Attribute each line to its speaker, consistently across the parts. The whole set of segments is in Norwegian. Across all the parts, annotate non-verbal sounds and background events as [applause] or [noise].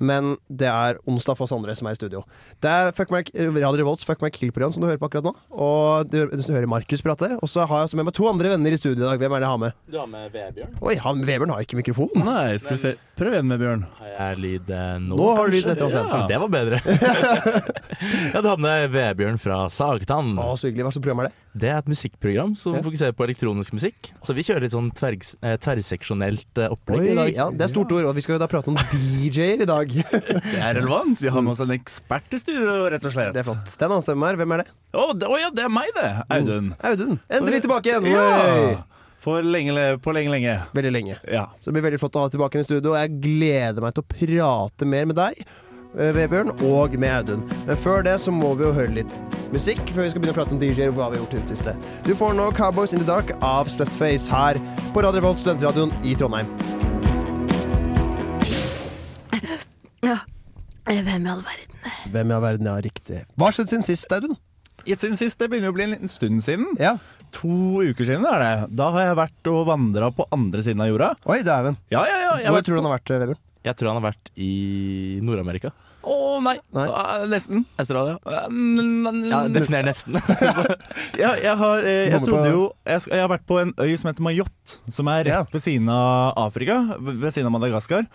Speaker 1: men det er onsdag for oss andre som er i studio. Det er Fuck Mark, Radio Revolts Fuck Mark Kill-program som du hører på akkurat nå. Og du, du hører Markus prate. Og så har jeg også med meg to andre venner i studio i dag. Hvem er det jeg har med?
Speaker 2: Du har med Vebjørn.
Speaker 1: Oi, han, Vebjørn har ikke mikrofon.
Speaker 3: Nei, skal vi se. Prøv igjen med Bjørn.
Speaker 2: Er lyd eh, nå,
Speaker 1: Nå har du
Speaker 2: kanskje?
Speaker 1: lyd etter oss, ja.
Speaker 2: Ja, det var
Speaker 1: [laughs]
Speaker 2: bedre. ja, du hadde med Vebjørn fra Sagtann.
Speaker 1: Å, så hyggelig. Hva slags program er det?
Speaker 2: Det er et musikkprogram som
Speaker 1: Ja.
Speaker 2: fokuserer på elektronisk musikk. Så vi kjører litt sånn tvergs, eh, tverrseksjonelt eh, opplegg
Speaker 1: Oi,
Speaker 2: i dag.
Speaker 1: ja, det er stort ord, og vi skal jo da prate om DJ-er i dag. [laughs]
Speaker 3: Det er relevant. Vi har med oss en ekspert i studio, rett og slett.
Speaker 1: Det er flott. Det er en annen stemme her. Hvem er det?
Speaker 3: Å det- å ja, det er meg, det. Audun.
Speaker 1: Audun. Endelig tilbake igjen! Oi.
Speaker 3: Ja. For lenge, le- på lenge, lenge.
Speaker 1: Veldig lenge.
Speaker 3: Ja.
Speaker 1: Så det blir veldig flott å ha deg tilbake i studio. og Jeg gleder meg til å prate mer med deg, eh, Vebjørn, og med Audun. Men før det så må vi jo høre litt musikk før vi skal begynne å prate om DJ-er og hva vi har gjort til det siste. Du får nå Cowboys in the Dark av Slutface her på Radio Revolt, studentradioen i Trondheim.
Speaker 4: Ja. Hvem i all verden?
Speaker 1: Hvem i all verden er riktig? Hå skjedde siden sist, Audun?
Speaker 3: I sin sist, det begynner jo å bli en liten stund siden.
Speaker 1: Ja.
Speaker 3: To uker siden er det. Da har jeg vært og vandra på andre siden av jorda.
Speaker 1: Oi, dæven.
Speaker 3: Ja, ja, ja. Jeg
Speaker 1: Hvor
Speaker 3: har vært...
Speaker 1: tror du han har vært, eh, Vebjørn?
Speaker 2: Jeg tror han har vært i Nord-Amerika.
Speaker 3: Å nei,
Speaker 1: Nei.
Speaker 3: Ah, nesten.
Speaker 2: Australia. Mm. Ja,
Speaker 3: Ja,
Speaker 2: definer nesten. [laughs]
Speaker 3: jeg, jeg, har, eh, jeg,
Speaker 1: Bommer på-
Speaker 3: trodde jo, jeg, sk- jeg har vært på en øy som heter Mayotte, som er rett
Speaker 1: Ja.
Speaker 3: ved siden av Afrika, v- ved siden av Madagaskar.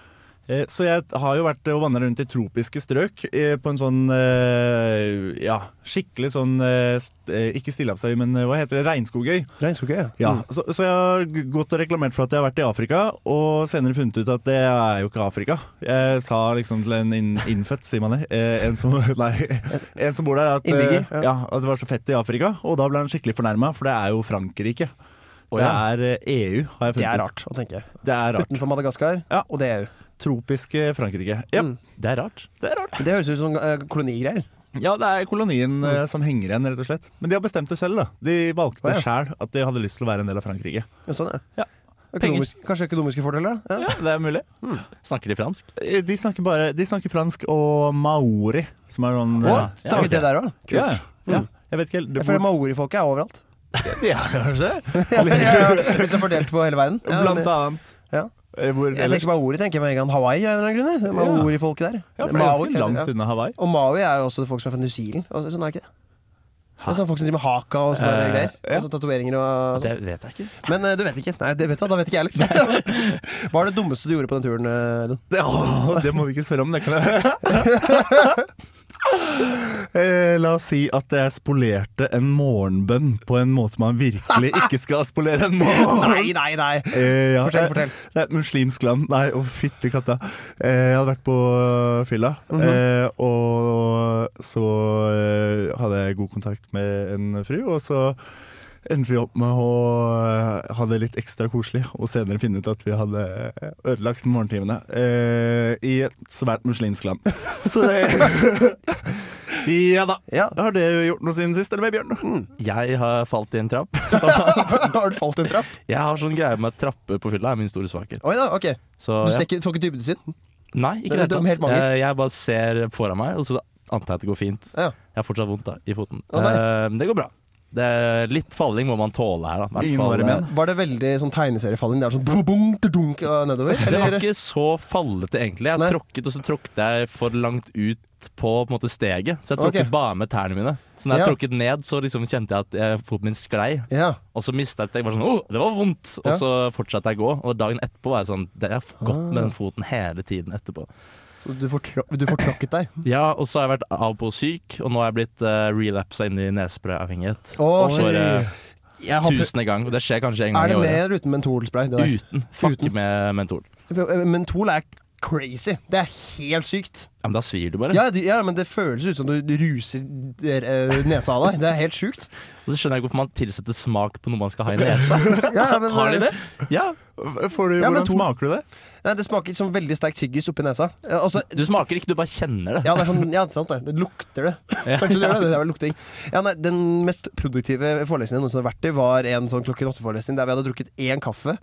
Speaker 3: Eh, Så jeg har jo vært eh, og vandret rundt i tropiske strøk eh, på en sånn eh, ja, skikkelig sånn eh, st- eh, Ikke stillehavsøy, men eh, hva heter det? Regnskogøy.
Speaker 1: Regnskogøy,
Speaker 3: Ja, så, så jeg har g- gått og reklamert for at jeg har vært i Afrika, og senere funnet ut at det er jo ikke Afrika. Jeg sa liksom til en inn, innfødt, sier man det, eh, en som, [laughs] nei, en som bor der, at, eh,
Speaker 1: Innbygger, ja.
Speaker 3: ja, at det var så fett i Afrika. Og da ble han skikkelig fornærma, for det er jo Frankrike. Og det
Speaker 1: ja.
Speaker 3: er eh, EU, har jeg funnet ut.
Speaker 1: Det er rart å tenke.
Speaker 3: Det er rart.
Speaker 1: Utenfor Madagaskar,
Speaker 3: Ja.
Speaker 1: og E det er EU.
Speaker 3: Tropiske Frankrike. Ja,
Speaker 1: Mm.
Speaker 2: Det er rart.
Speaker 3: det er rart.
Speaker 1: Men Det høres ut som eh, kolonigreier.
Speaker 3: Ja, det er kolonien eh, som henger igjen, rett og slett. Men de har bestemt det selv, da. De valgte
Speaker 1: Mm. Ja, ja.
Speaker 3: sjæl at de hadde lyst til å være en del av Frankrike.
Speaker 1: Ja, sånn,
Speaker 3: Ja.
Speaker 1: Økonomisk, kanskje økonomiske fordeler? da?
Speaker 3: Ja, det er mulig.
Speaker 2: Snakker de fransk?
Speaker 3: Eh, De snakker, bare, de snakker fransk og maori, som er sånn
Speaker 1: Å,
Speaker 3: eh,
Speaker 1: Samme
Speaker 3: ja,
Speaker 1: det der òg?
Speaker 3: ok. Ja, ja. Jeg vet ikke helt
Speaker 1: Jeg føler maorifolket er [laughs] overalt.
Speaker 3: Ja, kanskje det?
Speaker 1: Hvis det er fordelt på hele verden. Ja,
Speaker 3: Blant
Speaker 1: det-
Speaker 3: annet.
Speaker 1: Ja.
Speaker 3: Eh, Hvor
Speaker 1: Jeg
Speaker 3: ellers?
Speaker 1: tenker maori tenker jeg med en gang Hawaii. av en eller annen grunn. Det er Maori-folket der.
Speaker 3: Ja, for det er
Speaker 1: Maori,
Speaker 3: ganske langt
Speaker 1: ja.
Speaker 3: unna Hawaii.
Speaker 1: Og Maui er jo også folk som er fra New Zealand. Og sånn er det ikke det? Det er sånne folk som driver med haka og sånne
Speaker 2: Eh,
Speaker 1: greier.
Speaker 3: ja.
Speaker 1: Og sånne tatoveringer og sånn.
Speaker 2: Det vet jeg ikke.
Speaker 1: Men eh, du vet ikke. Nei, det vet du, hva, da vet ikke jeg heller. [laughs] Hva er det dummeste du gjorde på den turen, eh, Audun?
Speaker 3: Det, å, det må vi ikke spørre om, det kan jeg [laughs] Eh, La oss si at jeg spolerte en morgenbønn på en måte man virkelig ikke skal spolere en morgenbønn.
Speaker 1: Nei, nei, nei!
Speaker 3: Eh, ja.
Speaker 1: Fortell, fortell.
Speaker 3: Det er et muslimsk land. Nei, å fytti katta. Eh, jeg hadde vært på eh, fylla,
Speaker 1: Mhm.
Speaker 3: eh, og så eh, hadde jeg god kontakt med en fru, og så endte vi opp med å eh, ha det litt ekstra koselig, og senere finne ut at vi hadde ødelagt morgentimene eh, i et svært muslimsk land. [laughs] Så det Ja da.
Speaker 1: Ja.
Speaker 3: Har det gjort noe siden sist, eller, Bjørn?
Speaker 2: Jeg har falt i en trapp.
Speaker 1: Har du falt i en trapp?
Speaker 2: Jeg har sånn greie med at trapper på fylla er min store svakhet.
Speaker 1: Oi da, ok.
Speaker 2: Så
Speaker 1: Du
Speaker 2: jeg
Speaker 1: ser ikke, får ikke dybdesyn?
Speaker 2: Nei, ikke
Speaker 1: Det
Speaker 2: det,
Speaker 1: er dum-
Speaker 2: det
Speaker 1: helt mangel.
Speaker 2: jeg, jeg bare ser foran meg, og så antar jeg at det går fint.
Speaker 1: Ja.
Speaker 2: Jeg har fortsatt vondt da, i foten.
Speaker 1: Å, nei.
Speaker 2: Eh, men det går bra. Det er litt falling må man tåle her, da. Hvert
Speaker 3: Ingen
Speaker 2: fall,
Speaker 3: var i men.
Speaker 1: Var det veldig sånn tegneseriefalling? Det er sånn bum, bum, dunk, og nedover?
Speaker 2: eh, Det var
Speaker 1: eller?
Speaker 2: ikke så fallete, egentlig. Jeg
Speaker 1: Nei.
Speaker 2: tråkket, og så tråkket jeg for langt ut på, på en måte, steget. Så jeg tråkket
Speaker 1: Ok.
Speaker 2: bare med tærne mine. Så når jeg
Speaker 1: Ja.
Speaker 2: tråkket ned, så liksom kjente jeg at eh, foten min sklei.
Speaker 1: Ja.
Speaker 2: Og så mista jeg et steg. Bare sånn, oh, det var vondt Og
Speaker 1: Ja.
Speaker 2: så fortsatte jeg å gå. Og dagen etterpå var jeg sånn Det har gått med
Speaker 1: Ah.
Speaker 2: den foten hele tiden etterpå.
Speaker 1: Så Du, fortrå du fortråkket deg?
Speaker 2: Ja, og så har jeg vært av og på syk, og nå har jeg blitt uh, relapsa inn i nesesprayavhengighet.
Speaker 1: Å,
Speaker 2: For
Speaker 1: shit.
Speaker 2: eh,
Speaker 1: Jeg har prøvd-
Speaker 2: tusende gang, og det skjer kanskje en
Speaker 1: Er
Speaker 2: gang i
Speaker 1: det med
Speaker 2: året.
Speaker 1: eller uten mentolspray? Det der?
Speaker 2: Uten. Fuck
Speaker 1: Uten.
Speaker 2: med mentol.
Speaker 1: For, eh, Mentol er crazy. Det er helt sykt.
Speaker 2: Ja, men da svir du bare.
Speaker 1: Ja, det- ja men det føles ut som du du ruser der, eh, nesa av deg. Det er helt sjukt.
Speaker 2: Og så skjønner jeg ikke hvorfor man tilsetter smak på noe man skal ha i nesa.
Speaker 1: [laughs] Ja, men,
Speaker 2: Har de det? Ja.
Speaker 3: Får du,
Speaker 1: Ja, men
Speaker 3: hvordan
Speaker 1: to-
Speaker 3: smaker du det?
Speaker 1: Nei, det smaker som veldig sterk tyggis oppi nesa. Eh, Altså,
Speaker 2: Du smaker ikke, du bare kjenner det.
Speaker 1: ja, det er sånn, ja, sant det. Det lukter det.
Speaker 2: Ja.
Speaker 1: Kanskje det gjør det. Det er vel lukting. Ja, nei, den mest produktive forelesningen jeg noensinne har vært i, var en sånn klokken åtte-forelesning der vi hadde drukket én kaffe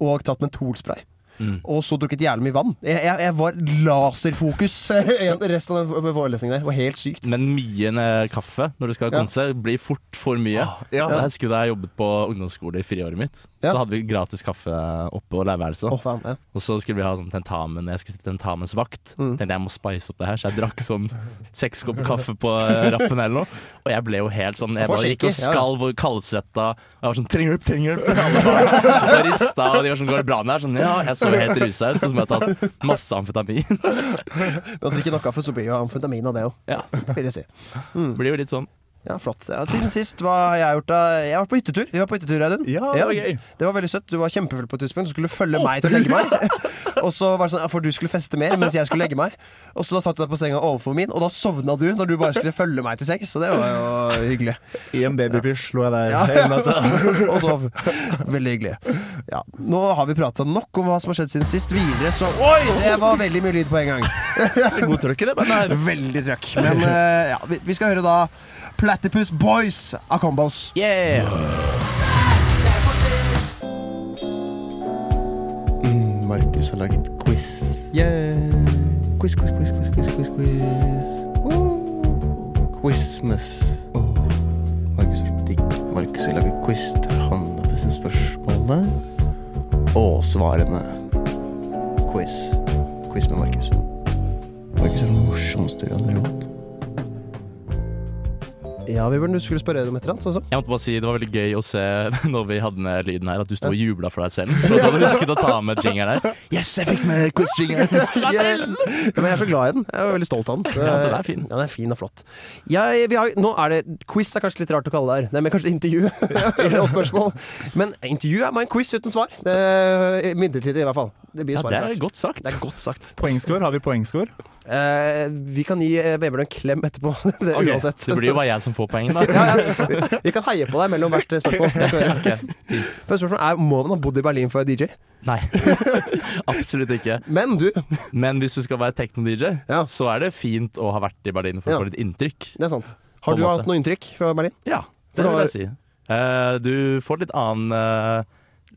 Speaker 1: og tatt mentolspray.
Speaker 2: Mm.
Speaker 1: Og så drukket jævlig mye vann. Jeg, jeg, jeg var laserfokus [laughs] en- resten av den forelesningen der. Det var helt sykt.
Speaker 2: Men mye eh, kaffe når du skal
Speaker 1: Ja. Ah,
Speaker 2: konse, blir fort for mye.
Speaker 3: ja.
Speaker 2: Jeg husker da jeg jobbet på ungdomsskole i friåret mitt.
Speaker 1: Ja.
Speaker 2: Så hadde vi gratis kaffe oppe og leirværelse.
Speaker 1: Å, faen, ja.
Speaker 2: Og så skulle vi ha sånn tentamen Jeg skulle sitte tentamensvakt.
Speaker 1: Mm.
Speaker 2: Tenkte jeg må spice opp det her, så jeg drakk sånn seks kopper kaffe på eh, rappen eller noe. Og jeg ble jo helt sånn Jeg
Speaker 1: Får
Speaker 2: bare gikk og
Speaker 1: shaker, ja.
Speaker 2: skalv og kaldsvetta. Og jeg var sånn 'trenger hjelp, trenger hjelp' til alle barna. Og rista, og de var sånn 'går det bra med deg?' Sånn, ja, jeg så helt rusa ut. Sånn som jeg har tatt masse amfetamin. [laughs]
Speaker 1: Men å drikke nok kaffe, så blir det jo amfetamin av det òg,
Speaker 2: Ja,
Speaker 1: vil jeg si.
Speaker 2: blir jo litt sånn.
Speaker 1: Ja, flott. Ja, siden sist, hva har jeg gjort da? Jeg har vært på hyttetur. Vi var på hyttetur, Audun.
Speaker 3: Ja, det var gøy.
Speaker 1: Det var veldig søtt. Du var kjempefull på et tidspunkt. Du skulle følge meg til å legge meg. [laughs] og så var det sånn, ja, For du skulle feste mer mens jeg skulle legge meg. Og så da satt du deg på senga overfor min, og da sovna du når du bare skulle følge meg til sex. Så det var jo hyggelig.
Speaker 3: [laughs] I en babypysj lå jeg der.
Speaker 1: Ja.
Speaker 3: hele natta.
Speaker 1: og sov. Veldig hyggelig. Ja, nå har vi prata nok om hva som har skjedd siden sist. Videre så Oi! Det var veldig mye lyd på en gang.
Speaker 2: God trøkk i det bandet her.
Speaker 1: Veldig trøkk. Men eh, ja, vi, vi skal høre da Platypus Boys av Combos.
Speaker 2: Yeah.
Speaker 5: Markus har laget quiz. Quiz, quiz, quiz, quiz, quiz, quiz, quiz. Quizmas. Oh. Markus er digg. Markus har laget quiz der han har bestemt spørsmålene og svarene. Quiz. Quiz med Markus. Markus er den morsomste vi har råd.
Speaker 1: Ja, Vibjørn, du skulle spørre om et eller annet? Sånn som?
Speaker 2: Jeg måtte bare si Det var veldig gøy å se [laughs] når vi hadde med lyden her, at du sto og jubla for deg selv. Så du hadde husket å ta med jingeren der. Yes, jeg fikk med quiz-jingeren!
Speaker 1: Jeg, [laughs] ja, men jeg er så glad i den. Jeg er veldig stolt av den.
Speaker 2: Ja, den er fin.
Speaker 1: Ja, den er fin og flott. Jeg, vi har, nå er det, quiz er kanskje litt rart å kalle det her. Nei, men kanskje intervju [laughs] og spørsmål. Men intervju er meg en quiz uten svar. Det er Midlertidig, i hvert fall. Det blir
Speaker 2: Ja,
Speaker 1: svar
Speaker 2: det
Speaker 1: etter
Speaker 2: er
Speaker 1: hvert.
Speaker 2: godt sagt.
Speaker 1: Det er godt sagt.
Speaker 3: Poengscore, har vi poengscore?
Speaker 1: Eh, vi kan gi eh, Vebjørn en klem etterpå. [laughs] Det, er
Speaker 2: Ok,
Speaker 1: Uansett.
Speaker 2: Det blir jo bare jeg som får poengen, da.
Speaker 1: [laughs] ja, ja, vi kan heie på deg mellom hvert
Speaker 2: [laughs]
Speaker 1: spørsmål. Det kan vi gjøre.
Speaker 2: Ok, fint.
Speaker 1: Første spørsmål er Må man ha bodd i Berlin for å være DJ?
Speaker 2: Nei, [laughs] absolutt ikke.
Speaker 1: Men du,
Speaker 2: Men hvis du skal være tekno-DJ,
Speaker 1: Ja.
Speaker 2: så er det fint å ha vært i Berlin for
Speaker 1: Ja.
Speaker 2: å få litt inntrykk.
Speaker 1: det er sant.
Speaker 2: På
Speaker 1: Har
Speaker 2: en
Speaker 1: du
Speaker 2: måte.
Speaker 1: hatt noe inntrykk fra Berlin?
Speaker 2: Ja,
Speaker 1: For
Speaker 2: det
Speaker 1: da
Speaker 2: vil
Speaker 1: har-
Speaker 2: jeg si. Eh, du får litt annen, eh,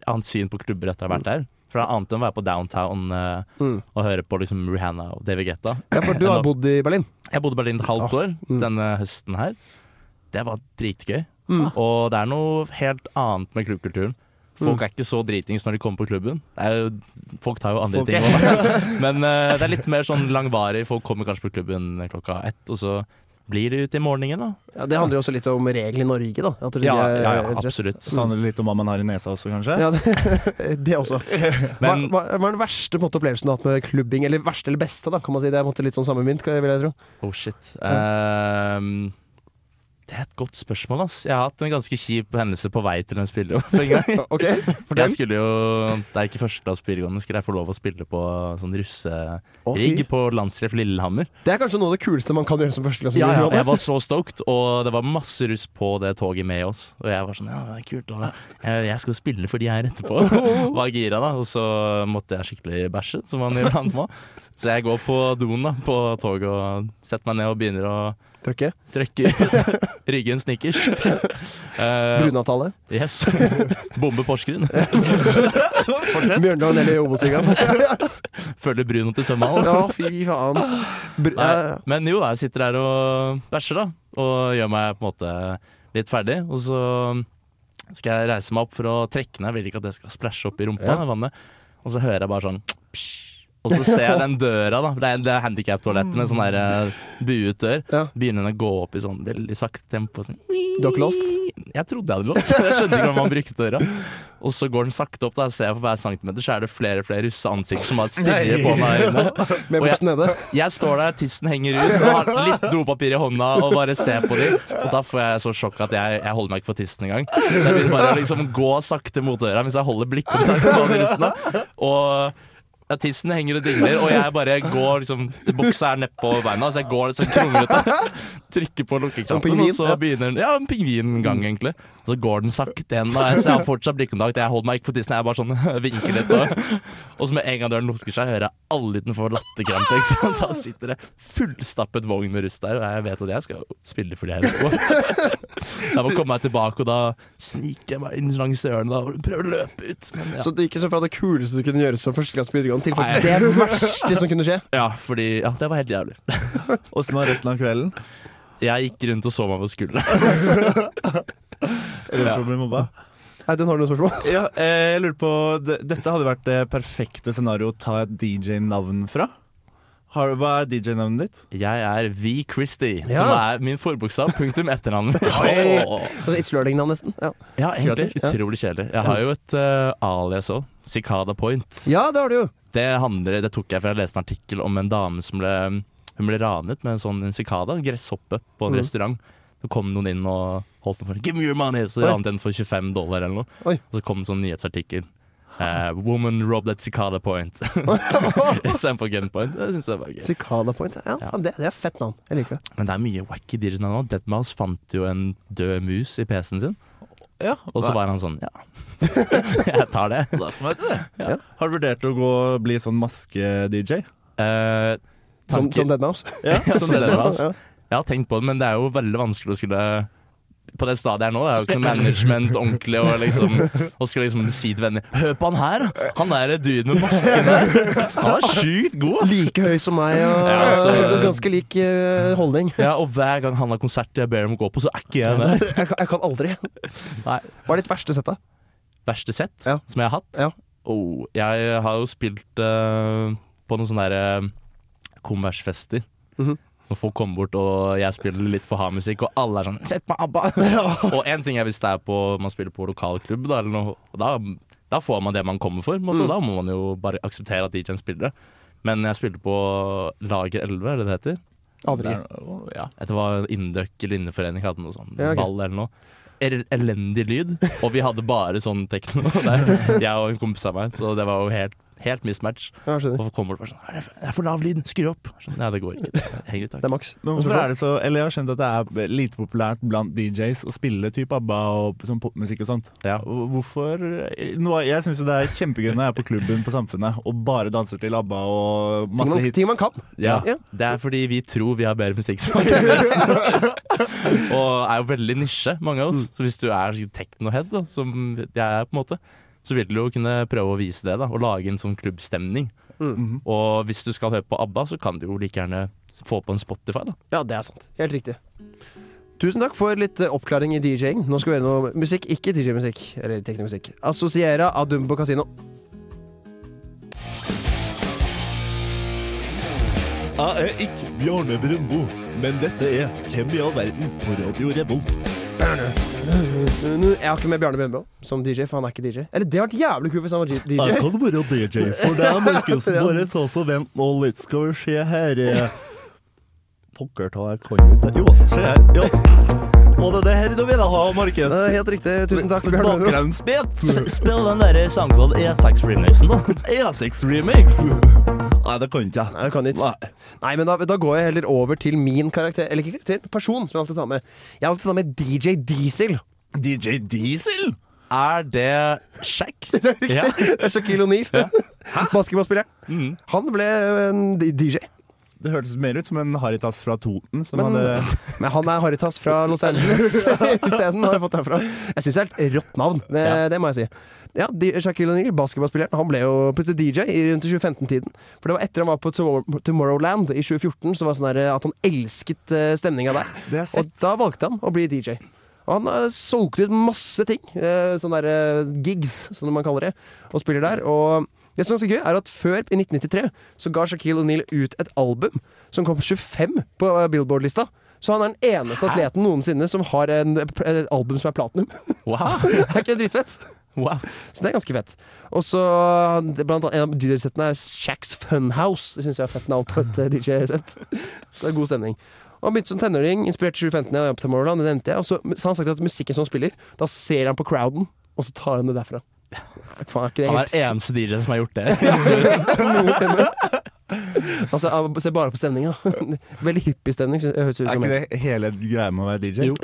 Speaker 2: annet syn på klubber etter å ha vært der. For det er annet enn å være på downtown eh,
Speaker 1: Mm.
Speaker 2: og høre på liksom Rihanna og David Guetta.
Speaker 1: Ja, for du har
Speaker 2: Nå-
Speaker 1: bodd i Berlin.
Speaker 2: Jeg bodde i Berlin et halvt år
Speaker 1: mm.
Speaker 2: denne høsten her. Det var dritgøy.
Speaker 1: Mm.
Speaker 2: Og det er noe helt annet med klubbkulturen.
Speaker 1: Mm.
Speaker 2: Folk er ikke så dritings når de kommer på klubben. Det er jo, folk tar jo andre
Speaker 3: Folk-
Speaker 2: ting òg, [laughs] men eh, det er litt mer sånn langvarig. Folk kommer kanskje på klubben klokka ett, og så blir de ute i morgenen, da.
Speaker 1: Ja, det handler jo også litt om reglene i Norge, da. At det
Speaker 2: Ja,
Speaker 1: er-
Speaker 2: ja,
Speaker 1: eh, rett sånn.
Speaker 2: ja
Speaker 1: og slett.
Speaker 2: absolutt.
Speaker 3: Så handler det litt om hva man har i nesa også, kanskje?
Speaker 1: Ja, det, [laughs]
Speaker 3: [laughs]
Speaker 1: det også. Hva,
Speaker 2: Mm. Men
Speaker 1: hva, hva er den verste på en måte, opplevelsen du har hatt med klubbing? Eller verste eller beste, da, kan man si. Det er på en måte litt sånn samme mynt, vil jeg tro.
Speaker 2: Oh shit. Ehm, det er et godt spørsmål, ass. Jeg har hatt en ganske kjip hendelse på vei til en [laughs] spillejobb en
Speaker 1: [laughs]
Speaker 2: gang. For jeg skulle jo Det er ikke første klasse på videregående, skulle jeg få lov å spille på
Speaker 1: Å,
Speaker 2: sånn
Speaker 1: fy.
Speaker 2: russerigg på Landstreff Lillehammer.
Speaker 1: Det er kanskje noe av det kuleste man kan gjøre som førsteklassing.
Speaker 2: Ja, ja, og jeg var så stoked, og det var masse russ på det toget med oss. Og jeg var sånn Ja, det er kult. Og jeg, jeg skal spille for de her etterpå. Var gira, da. Og så måtte jeg skikkelig bæsje, som man iblant må. Så jeg går på doen da, på toget og setter meg ned og begynner å
Speaker 1: Trøkke.
Speaker 2: Trekker ut ryggen snickers. Eh,
Speaker 1: Brunavtale.
Speaker 2: yes. Bombe Porsgrunn. Fortsett.
Speaker 1: Bjørndalen eller [laughs] Obos-ligaen.
Speaker 2: Følger Bruno til Sømmal.
Speaker 1: Å, fy faen. Br
Speaker 2: Nei,
Speaker 1: eh,
Speaker 2: Men jo, da, jeg sitter her og bæsjer, da. Og gjør meg på en måte litt ferdig. Og så skal jeg reise meg opp for å trekke ned. Jeg vil ikke at det skal splæsje opp i rumpa, det vannet. Og så hører jeg bare sånn psh. Og så ser jeg den døra, da. Det er, det er handikap-toalettet med sånn der, eh, buet dør.
Speaker 1: Ja.
Speaker 2: Begynner den å gå opp i sånn veldig sakte tempo. Sånn.
Speaker 1: du har ikke låst?
Speaker 2: Jeg trodde jeg hadde låst. [laughs] Jeg skjønte ikke om han brukte døra. Og så går den sakte opp, da jeg ser jeg på hver centimeter, så er det flere og flere russe ansikter som bare stirrer på meg. i øynene.
Speaker 1: Med
Speaker 2: Og jeg-
Speaker 1: buksen nede?
Speaker 2: Jeg står der, tissen henger ut, og har litt dopapir i hånda og bare ser på dem. Og da får jeg så sjokk at jeg, jeg holder meg ikke for tissen engang. Så jeg begynner bare å liksom gå sakte mot døra mens jeg holder blikkontakten på russene. Og ja, tissen henger og dingler, og jeg bare går liksom Buksa er nedpå beina, så jeg går sånn kronglete. Trykker på
Speaker 1: Som
Speaker 2: lukkeknappen,
Speaker 1: pingvin,
Speaker 2: og så
Speaker 1: ja.
Speaker 2: begynner den Ja, en pingvingang, egentlig. Og så går den sakte igjen, og jeg, så jeg har fortsatt blikkontakt. Jeg holder meg ikke for tissen, jeg bare sånn [laughs] vinker litt. Og, og så med en gang døren lukker seg, hører jeg alle utenfor latterkrampe. ikke sant? Da sitter det fullstappet vogn med rust der, og jeg vet at jeg skal spille for de her. etterpå. Jeg må komme meg tilbake, og da sniker jeg meg inn langs ørene da, og prøver å løpe ut. Men ja.
Speaker 1: Så det gikk så fra det kuleste du kunne gjøre som førsteklasse på videregående, til faktisk
Speaker 2: Nei.
Speaker 1: det verste som kunne skje.
Speaker 2: ja, fordi Ja, det var helt jævlig.
Speaker 3: Åssen var resten av kvelden?
Speaker 2: Jeg gikk rundt og så meg på skulderen.
Speaker 3: Er det for å bli mobba?
Speaker 1: Audun, har du noen spørsmål?
Speaker 3: Ja, eh, jeg lurer på d- Dette hadde vært det perfekte scenario å ta et DJ-navn fra. Har, hva er DJ-navnet ditt?
Speaker 2: Jeg er V. Christie,
Speaker 1: Ja.
Speaker 2: som er min forbokstav. Punktum etternavn.
Speaker 1: [laughs] Oi.
Speaker 2: Åh.
Speaker 1: Altså, It's learning-navn, nesten. Ja.
Speaker 2: Ja, egentlig
Speaker 1: ja.
Speaker 2: utrolig kjedelig. Jeg har jo et eh, alias òg. Cicada Point.
Speaker 1: ja, det har du jo.
Speaker 2: Det, handler, det tok jeg fra jeg leste en artikkel om en dame som ble, hun ble ranet med en sånn en sikada, en gresshoppe, på en
Speaker 1: Mm.
Speaker 2: restaurant. Så kom noen inn og holdt den for 'give me your money', så
Speaker 1: Oi.
Speaker 2: ranet den for 25 dollar eller noe.
Speaker 1: Oi.
Speaker 2: Og så kom en sånn nyhetsartikkel. eh, 'Woman robbed at Cicada Point' [laughs] istedenfor Gunpoint. Det syns jeg var gøy.
Speaker 1: Cicada Point. Ja,
Speaker 2: Ja.
Speaker 1: faen, Det, det er fett navn. Jeg liker det.
Speaker 2: Men det er mye wacky dyrene nå. Deadmouse fant jo en død mus i PC-en sin,
Speaker 3: Ja,
Speaker 2: og så var han sånn Ja, [laughs] jeg tar det.
Speaker 3: Da skal man vite det.
Speaker 2: Ja.
Speaker 3: Har du vurdert å gå bli sånn maske-DJ?
Speaker 2: Eh,
Speaker 1: Som,
Speaker 2: tanker-
Speaker 1: som Deadmouse.
Speaker 3: Ja,
Speaker 2: som det var.
Speaker 1: Ja.
Speaker 2: Jeg har tenkt på det, men det er jo veldig vanskelig å skulle på det stadiet her nå, det er jo ikke noe management ordentlig og liksom Og skulle liksom si til venner Hør på han her, da! Han der duden med masken der! Han er sjukt god, ass!
Speaker 1: Like høy som meg, og
Speaker 2: Ja, altså-
Speaker 1: [laughs] ganske lik eh, holdning.
Speaker 2: Ja, og hver gang han har konsert jeg ber dem gå på, så er ikke jeg der.
Speaker 1: Jeg kan, jeg kan aldri.
Speaker 2: Nei.
Speaker 1: Hva er ditt verste sett, da?
Speaker 2: Verste sett
Speaker 1: Ja.
Speaker 2: som jeg har hatt?
Speaker 1: Ja.
Speaker 2: Oh, jeg har jo spilt eh, på noen sånne der, eh, kommersfester.
Speaker 1: Mhm.
Speaker 2: Når folk kommer bort og jeg spiller litt for hard musikk, og alle er sånn 'Sett på
Speaker 1: [laughs]
Speaker 2: ABBA!' Og én ting er hvis det er på man spiller på lokalklubb, da, eller noe, og da, da får man det man kommer for. på en
Speaker 1: Mhm.
Speaker 2: måte, og Da må man jo bare akseptere at DJ-en spiller det. Men jeg spilte på Lager 11, er det det heter?
Speaker 1: Aner ikke.
Speaker 2: Der- Ja, det var Induc eller Inneforening hadde noe sånn
Speaker 1: Ja, ok.
Speaker 2: ball eller noe. El elendig lyd, og vi hadde bare sånn tekno [laughs] der. Jeg og en kompis av meg, så det var jo helt, helt mismatch.
Speaker 1: Ja, skjønner.
Speaker 2: Og så kommer det bare sånn "Er det for- 'Det er for lav lyd, skru opp'. Sånn, Nei, det går ikke. Det henger i tak.
Speaker 1: Det er maks.
Speaker 3: Men hvorfor er det så Eller jeg har skjønt at det er lite populært blant DJs å spille type ABBA og sånn popmusikk og sånt.
Speaker 2: Ja.
Speaker 3: Hvorfor Noe, Jeg syns jo det er kjempegøy når jeg er på klubben på Samfunnet og bare danser til ABBA og
Speaker 1: Ting
Speaker 3: masse
Speaker 1: man,
Speaker 3: hits.
Speaker 1: ting man kan.
Speaker 2: Ja.
Speaker 1: Ja.
Speaker 2: Det er fordi vi tror vi har bedre musikksmak enn resten.
Speaker 1: [laughs]
Speaker 2: og er jo veldig nisje, mange
Speaker 1: Mm.
Speaker 2: av oss. Så hvis du er techno-head, da, som jeg er på en måte, så vil du jo kunne prøve å vise det, da, og lage en sånn klubbstemning.
Speaker 1: Mm.
Speaker 3: Mhm.
Speaker 2: Og hvis du skal høre på ABBA, så kan du jo like gjerne få på en Spotify, da.
Speaker 1: Ja, det er sant. Helt riktig. Tusen takk for litt eh, oppklaring i DJ-ing. Nå skal vi gjøre noe musikk, ikke DJ-musikk. Eller teknomusikk. Associera av Dumbo Casino.
Speaker 6: Jeg er ikke Bjarne Brumbo, men dette er Hvem i all verden på Radio Revolt.
Speaker 1: Nå- Jeg har ikke med Bjarne Brøndbo som DJ, for han er ikke DJ. Eller det hadde vært jævlig kult hvis han var G- DJ.
Speaker 3: kan være DJ for deg, Markus.
Speaker 1: [laughs] Ja.
Speaker 3: Bare ta så vent nå litt, skal vi se her eh. Pokker ta, jeg kan jo ikke Jo, se her. Ja. Og det er det her du ville ha,
Speaker 1: Det
Speaker 3: Markus.
Speaker 1: er helt riktig. Tusen takk, Bjarne Brøndbo. [laughs]
Speaker 3: Bakgrunnsbit.
Speaker 2: Spill den derre SoundCloud E6-remixen, da.
Speaker 3: E6 remix. Nei, det kan ikke
Speaker 1: Nei,
Speaker 3: jeg.
Speaker 1: jeg kan ikke.
Speaker 3: Nei.
Speaker 1: Nei, men da, da går jeg heller over til min karakter. Eller ikke karakter, person, som jeg alltid tar med. Jeg har alltid tatt med DJ Diesel.
Speaker 3: DJ Diesel?
Speaker 2: Er det Shack?
Speaker 1: Riktig. [laughs] Det er Shaquille O'Neal. [laughs] Basketballspilleren. Han ble en DJ.
Speaker 3: Det hørtes mer ut som en Haritas fra Toten. Som
Speaker 1: Men-
Speaker 3: hadde,
Speaker 1: Men han er Haritas fra Los Angeles [laughs] isteden, har jeg fått derfra. Jeg syns det er et rått navn, det,
Speaker 2: Ja.
Speaker 1: det må jeg si. Ja, Di- Shaquille O'Neal, basketballspilleren, han ble jo plutselig DJ i rundt 2015-tiden. For det var etter han var på Tomor- Tomorrowland i 2014, så var det sånn der, at han elsket stemninga der.
Speaker 3: det har jeg
Speaker 1: Og
Speaker 3: sett.
Speaker 1: da valgte han å bli DJ. Og han eh, solgte ut masse ting. eh, Sånne der eh, gigs, som man kaller det. Og spiller der. Og det som er ganske gøy, er at før, i 1993, så ga Shaquille O'Neal ut et album som kom på 25 på eh, Billboard-lista. Så han er den eneste atleten noensinne som har en, et album som er platinum. [laughs]
Speaker 2: Wow.
Speaker 1: er ikke det dritfett?
Speaker 2: wow.
Speaker 1: Så det er ganske fett. Og så det- blant annet en av DJ-settene er Shacks Funhouse. Det syns jeg er fett navn på et eh, DJ-sett. Så det er god stemning. Og Han begynte som tenåring, inspirert til 2015 av Tomorrowland, det nevnte jeg. Og så, så har han sagt at musikken som han spiller, da ser han på crowden, og så tar han det derfra. Faen, er ikke det
Speaker 2: Han
Speaker 1: helt
Speaker 2: er eneste DJ-en som har gjort
Speaker 1: [laughs]
Speaker 2: det.
Speaker 1: Altså, av- Se bare på stemninga. [laughs] Veldig hippie stemning. sy- Høres ut
Speaker 3: Er
Speaker 1: som
Speaker 3: ikke det hele greia med å være DJ?
Speaker 2: Jo.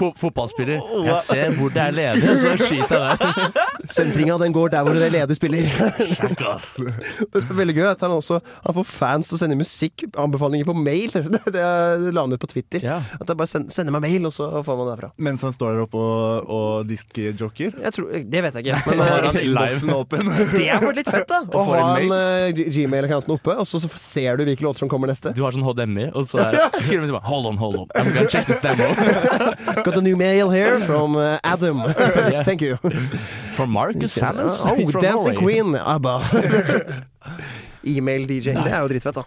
Speaker 2: Fo fotballspiller. Jeg ser hvor det er ledig, så skyter jeg der.
Speaker 1: Sentringa den går der hvor det leder spiller. det er veldig gøy at han også Han får fans til å sende musikkanbefalinger på mail. [laughs] Det, det la han ut på Twitter.
Speaker 2: Ja.
Speaker 1: At jeg bare send, sender meg mail, og så får man det derfra.
Speaker 3: Mens han står der oppe og, og diskjoker?
Speaker 1: Jeg tror, det vet jeg ikke.
Speaker 3: [laughs] Så har
Speaker 2: [laughs]
Speaker 3: han
Speaker 1: Men, eh,
Speaker 3: innboksen åpen.
Speaker 1: det hadde vært litt fett, da. Å
Speaker 3: Og får
Speaker 1: ha
Speaker 3: en
Speaker 1: en eh, G- Gmail-accounten oppe, og så så ser du hvilke låter som kommer neste.
Speaker 2: Du har sånn HDMI, og så
Speaker 1: [laughs]
Speaker 2: er, skriver de tilbake. Hold on, hold on. I'm gonna check this demo
Speaker 1: Got a new mail here from eh,
Speaker 3: [laughs]
Speaker 1: Adam. Thank you.
Speaker 2: for Marcus Sammons.
Speaker 1: Oh,
Speaker 2: He's from
Speaker 1: Dancing
Speaker 2: Norway.
Speaker 1: Queen, Ah, ABBA.
Speaker 2: [laughs]
Speaker 1: E-mail-DJ. Det er jo dritfett, da.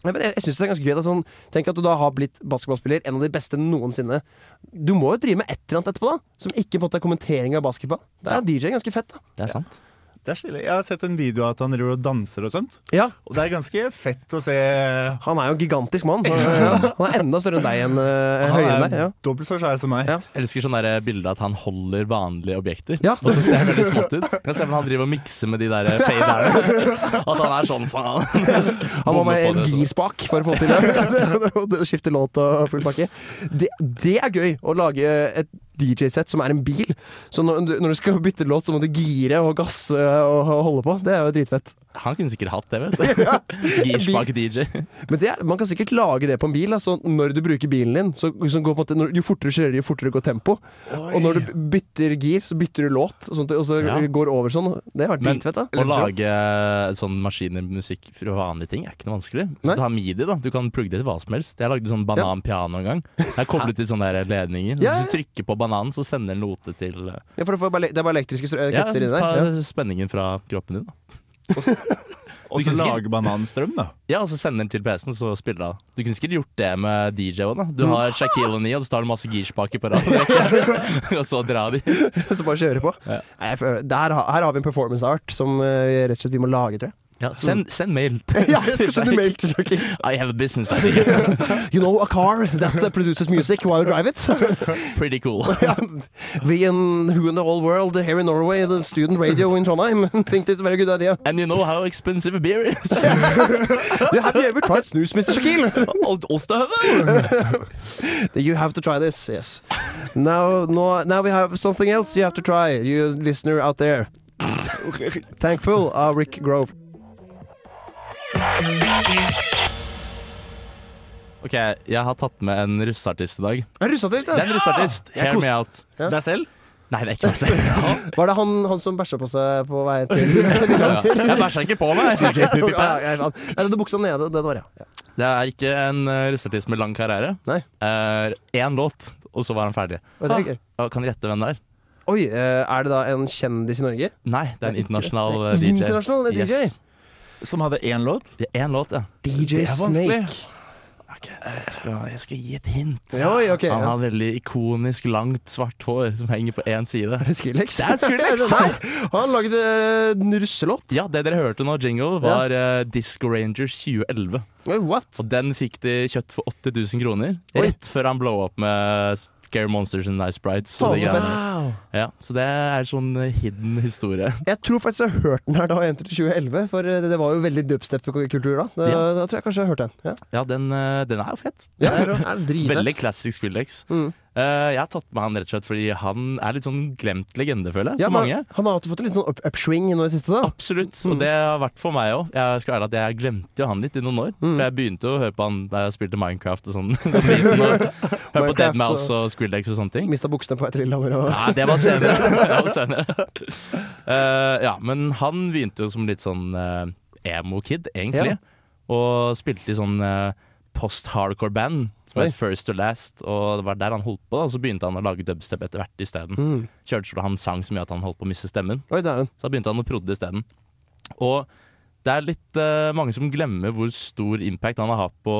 Speaker 1: Nei, men jeg jeg synes det er ganske gøy. Det er sånn, tenk at du da har blitt basketballspiller, en av de beste noensinne. Du må jo drive med et eller annet etterpå, da. Som ikke på en måte er kommentering av basketball. Da er DJ ganske fett, da.
Speaker 2: Det er sant.
Speaker 3: Det er stilig. Jeg har sett en video av at han driver og danser og sånt.
Speaker 1: Ja,
Speaker 3: Og det er ganske fett å se.
Speaker 1: Han er jo en gigantisk
Speaker 2: [laughs]
Speaker 1: mann. Han er, han er enda større enn deg enn eh, høyere enn deg. Ja.
Speaker 3: dobbelt så svær som meg.
Speaker 1: Ja.
Speaker 2: Jeg elsker sånne der bilder at han holder vanlige objekter,
Speaker 1: Ja.
Speaker 2: og så ser det veldig smått ut. Jeg ser han driver og mikser med de der faderne.
Speaker 1: [laughs]
Speaker 2: At han er sånn, faen.
Speaker 1: Han må
Speaker 2: Bommer
Speaker 1: med
Speaker 2: på
Speaker 1: en
Speaker 2: det, så.
Speaker 1: girspak for å få
Speaker 2: [laughs]
Speaker 1: til det. [laughs] Og det å Skifte låt og full pakke. Det, det er gøy å lage et DJ-sett som er en bil. Så når, du- når du skal bytte låt, så må du gire og gasse og og holde på. Det er jo dritfett.
Speaker 2: Han kunne sikkert hatt det, vet
Speaker 1: [laughs]
Speaker 2: du. Girspak-DJ.
Speaker 1: Men det er, man kan sikkert lage det på en bil. da. Så når du bruker bilen din, så, så går på en måte, når, jo fortere du kjører, jo fortere går tempo. Og når du bytter gir, så bytter du låt, og, sånt, og så
Speaker 2: Ja.
Speaker 1: går over sånn. Det har vært
Speaker 2: Men
Speaker 1: dritfett, da.
Speaker 2: å lage sånn maskinmusikk fra vanlige ting er ikke noe vanskelig.
Speaker 1: Nei.
Speaker 2: Så ta midi, da. Du kan plugge det til hva som helst. Jeg lagde sånn bananpiano en gang. Jeg koblet til sånne der ledninger.
Speaker 1: Ja, ja.
Speaker 2: Hvis du trykker på bananen, så sender den note til eh,
Speaker 1: Ja, for det får bare- det er bare elektriske strø-
Speaker 2: Ja,
Speaker 1: kretser inni
Speaker 2: ta
Speaker 1: der. Ja.
Speaker 2: spenningen fra kroppen din, da.
Speaker 3: Og
Speaker 2: Du
Speaker 3: så
Speaker 2: kunne sikkert-
Speaker 3: lage bananstrøm, da.
Speaker 2: Ja, og så sender den til PC-en, så spiller den. Du kunne sikkert gjort det med DJ-en, da.
Speaker 1: Mm.
Speaker 2: Du har Shaquille O'Neal, og så tar du masse girspaker på rad,
Speaker 1: [laughs]
Speaker 2: [laughs] og så dra de.
Speaker 1: Så bare kjøre på.
Speaker 2: Ja.
Speaker 1: Nei, jeg føler- der, har- her har vi en performance art som eh, rett og slett vi må lage, tror jeg. [laughs]
Speaker 2: Ja, send, send mail.
Speaker 1: Ja, jeg skal sende mail til Joakim.
Speaker 2: [laughs] I have a business idea.
Speaker 1: [laughs] You know a car that produces music while you drive it?
Speaker 2: Pretty cool.
Speaker 1: [laughs] Ja. We in Who in the Whole World here in Norway, the student radio in Trondheim, [laughs] think this is a very good idea.
Speaker 2: And you know how expensive a beer is.
Speaker 1: Have you ever tried snus, Mr. Shakil? [laughs] You have to try this, yes. Now, no, now we have something else you have to try, you listener out there. Thankful, uh, Rick Grove.
Speaker 2: Ok, jeg har tatt med en russeartist i dag.
Speaker 1: Er det russeartist,
Speaker 2: Det er en russeartist.
Speaker 1: Jeg
Speaker 2: Hear me out.
Speaker 1: Ja.
Speaker 3: Deg selv?
Speaker 2: Nei, det er ikke [laughs] meg selv.
Speaker 1: Var det han, han som bæsja på seg på vei [laughs] til
Speaker 2: Ja. Jeg bæsja ikke på [laughs] meg. DJ
Speaker 1: [laughs]
Speaker 2: Poopy Pants.
Speaker 1: Jeg hadde buksa nede, det var jeg.
Speaker 2: [laughs] Det er ikke en eh, russeartist med lang karriere.
Speaker 1: Nei.
Speaker 2: Én låt, og så var han ferdig.
Speaker 1: Vet dere ikke?
Speaker 2: Ja, Kan gjette hvem det er?
Speaker 1: Oi, eh, er det da en kjendis i Norge?
Speaker 2: Nei, det er en internasjonal
Speaker 1: Det
Speaker 2: eh,
Speaker 1: er
Speaker 2: DJ.
Speaker 1: internasjonal DJ?
Speaker 2: Yes.
Speaker 3: Som hadde én låt?
Speaker 2: Det er én låt, ja.
Speaker 1: DJ Snake.
Speaker 2: Ok, jeg skal, jeg skal gi et hint.
Speaker 1: Oi, ok.
Speaker 2: Han
Speaker 1: Ja.
Speaker 2: har veldig ikonisk langt, svart hår som henger på én [laughs] side.
Speaker 1: Er det [laughs] Skrillex?
Speaker 2: Det er
Speaker 1: [laughs]
Speaker 2: Skrillex.
Speaker 1: Nei, han laget eh, en russelåt.
Speaker 2: Ja, det dere hørte nå, jingle, var eh, Disco Rangers 2011.
Speaker 1: Oi, What?
Speaker 2: Og den fikk de kjøtt for 80 000 kroner.
Speaker 1: Oi.
Speaker 2: Rett før han blow up med Scare Monsters and Nice Brides.
Speaker 1: Faen,
Speaker 2: og de
Speaker 1: så
Speaker 2: greiene.
Speaker 1: fett.
Speaker 2: ja, så det er sånn eh, hidden historie. [laughs]
Speaker 1: Jeg tror faktisk jeg har hørt den her da jeg entrerte 2011, for eh, det var jo veldig dubstep-kultur da. Da,
Speaker 2: Ja.
Speaker 1: da tror jeg kanskje jeg har hørt den. Ja.
Speaker 2: Ja, den, eh, den er jo fett.
Speaker 1: Ja, det er dritfett.
Speaker 2: Veldig classic Skrillex.
Speaker 1: Mm.
Speaker 2: Eh, jeg har tatt med han rett og slett fordi han er litt sånn glemt legende, føler jeg.
Speaker 1: Ja,
Speaker 2: for
Speaker 1: men Mm.
Speaker 2: mange.
Speaker 1: Han har alltid fått en liten sånn up- upswing nå i det siste, da.
Speaker 2: Absolutt, og det har vært for meg òg. Jeg skal være at jeg glemte jo han litt i noen år.
Speaker 1: Mm.
Speaker 2: For jeg begynte å høre på han da jeg spilte Minecraft og sånn. [laughs] som liten, og Hørte på
Speaker 1: Minecraft
Speaker 2: Dead Mouse
Speaker 1: og-
Speaker 2: og Skrillex og sånne ting.
Speaker 1: Mista buksene på vei til Lillehammer
Speaker 2: [laughs]
Speaker 1: og
Speaker 2: Nei, det var senere. Det var senere. Eh, ja, men han begynte jo som litt sånn eh, emo-kid, egentlig. Og spilte i sånn eh, post-hardcore band som
Speaker 1: Oi.
Speaker 2: het First to Last. Og det var der han holdt på, da. og så begynte han å lage dubstep etter hvert isteden.
Speaker 1: Mm.
Speaker 2: Kjørte så han sang så mye at han holdt på å miste stemmen.
Speaker 1: Oi, dæven.
Speaker 2: Så da begynte han å prodde isteden. Og det er litt eh, mange som glemmer hvor stor impact han har hatt på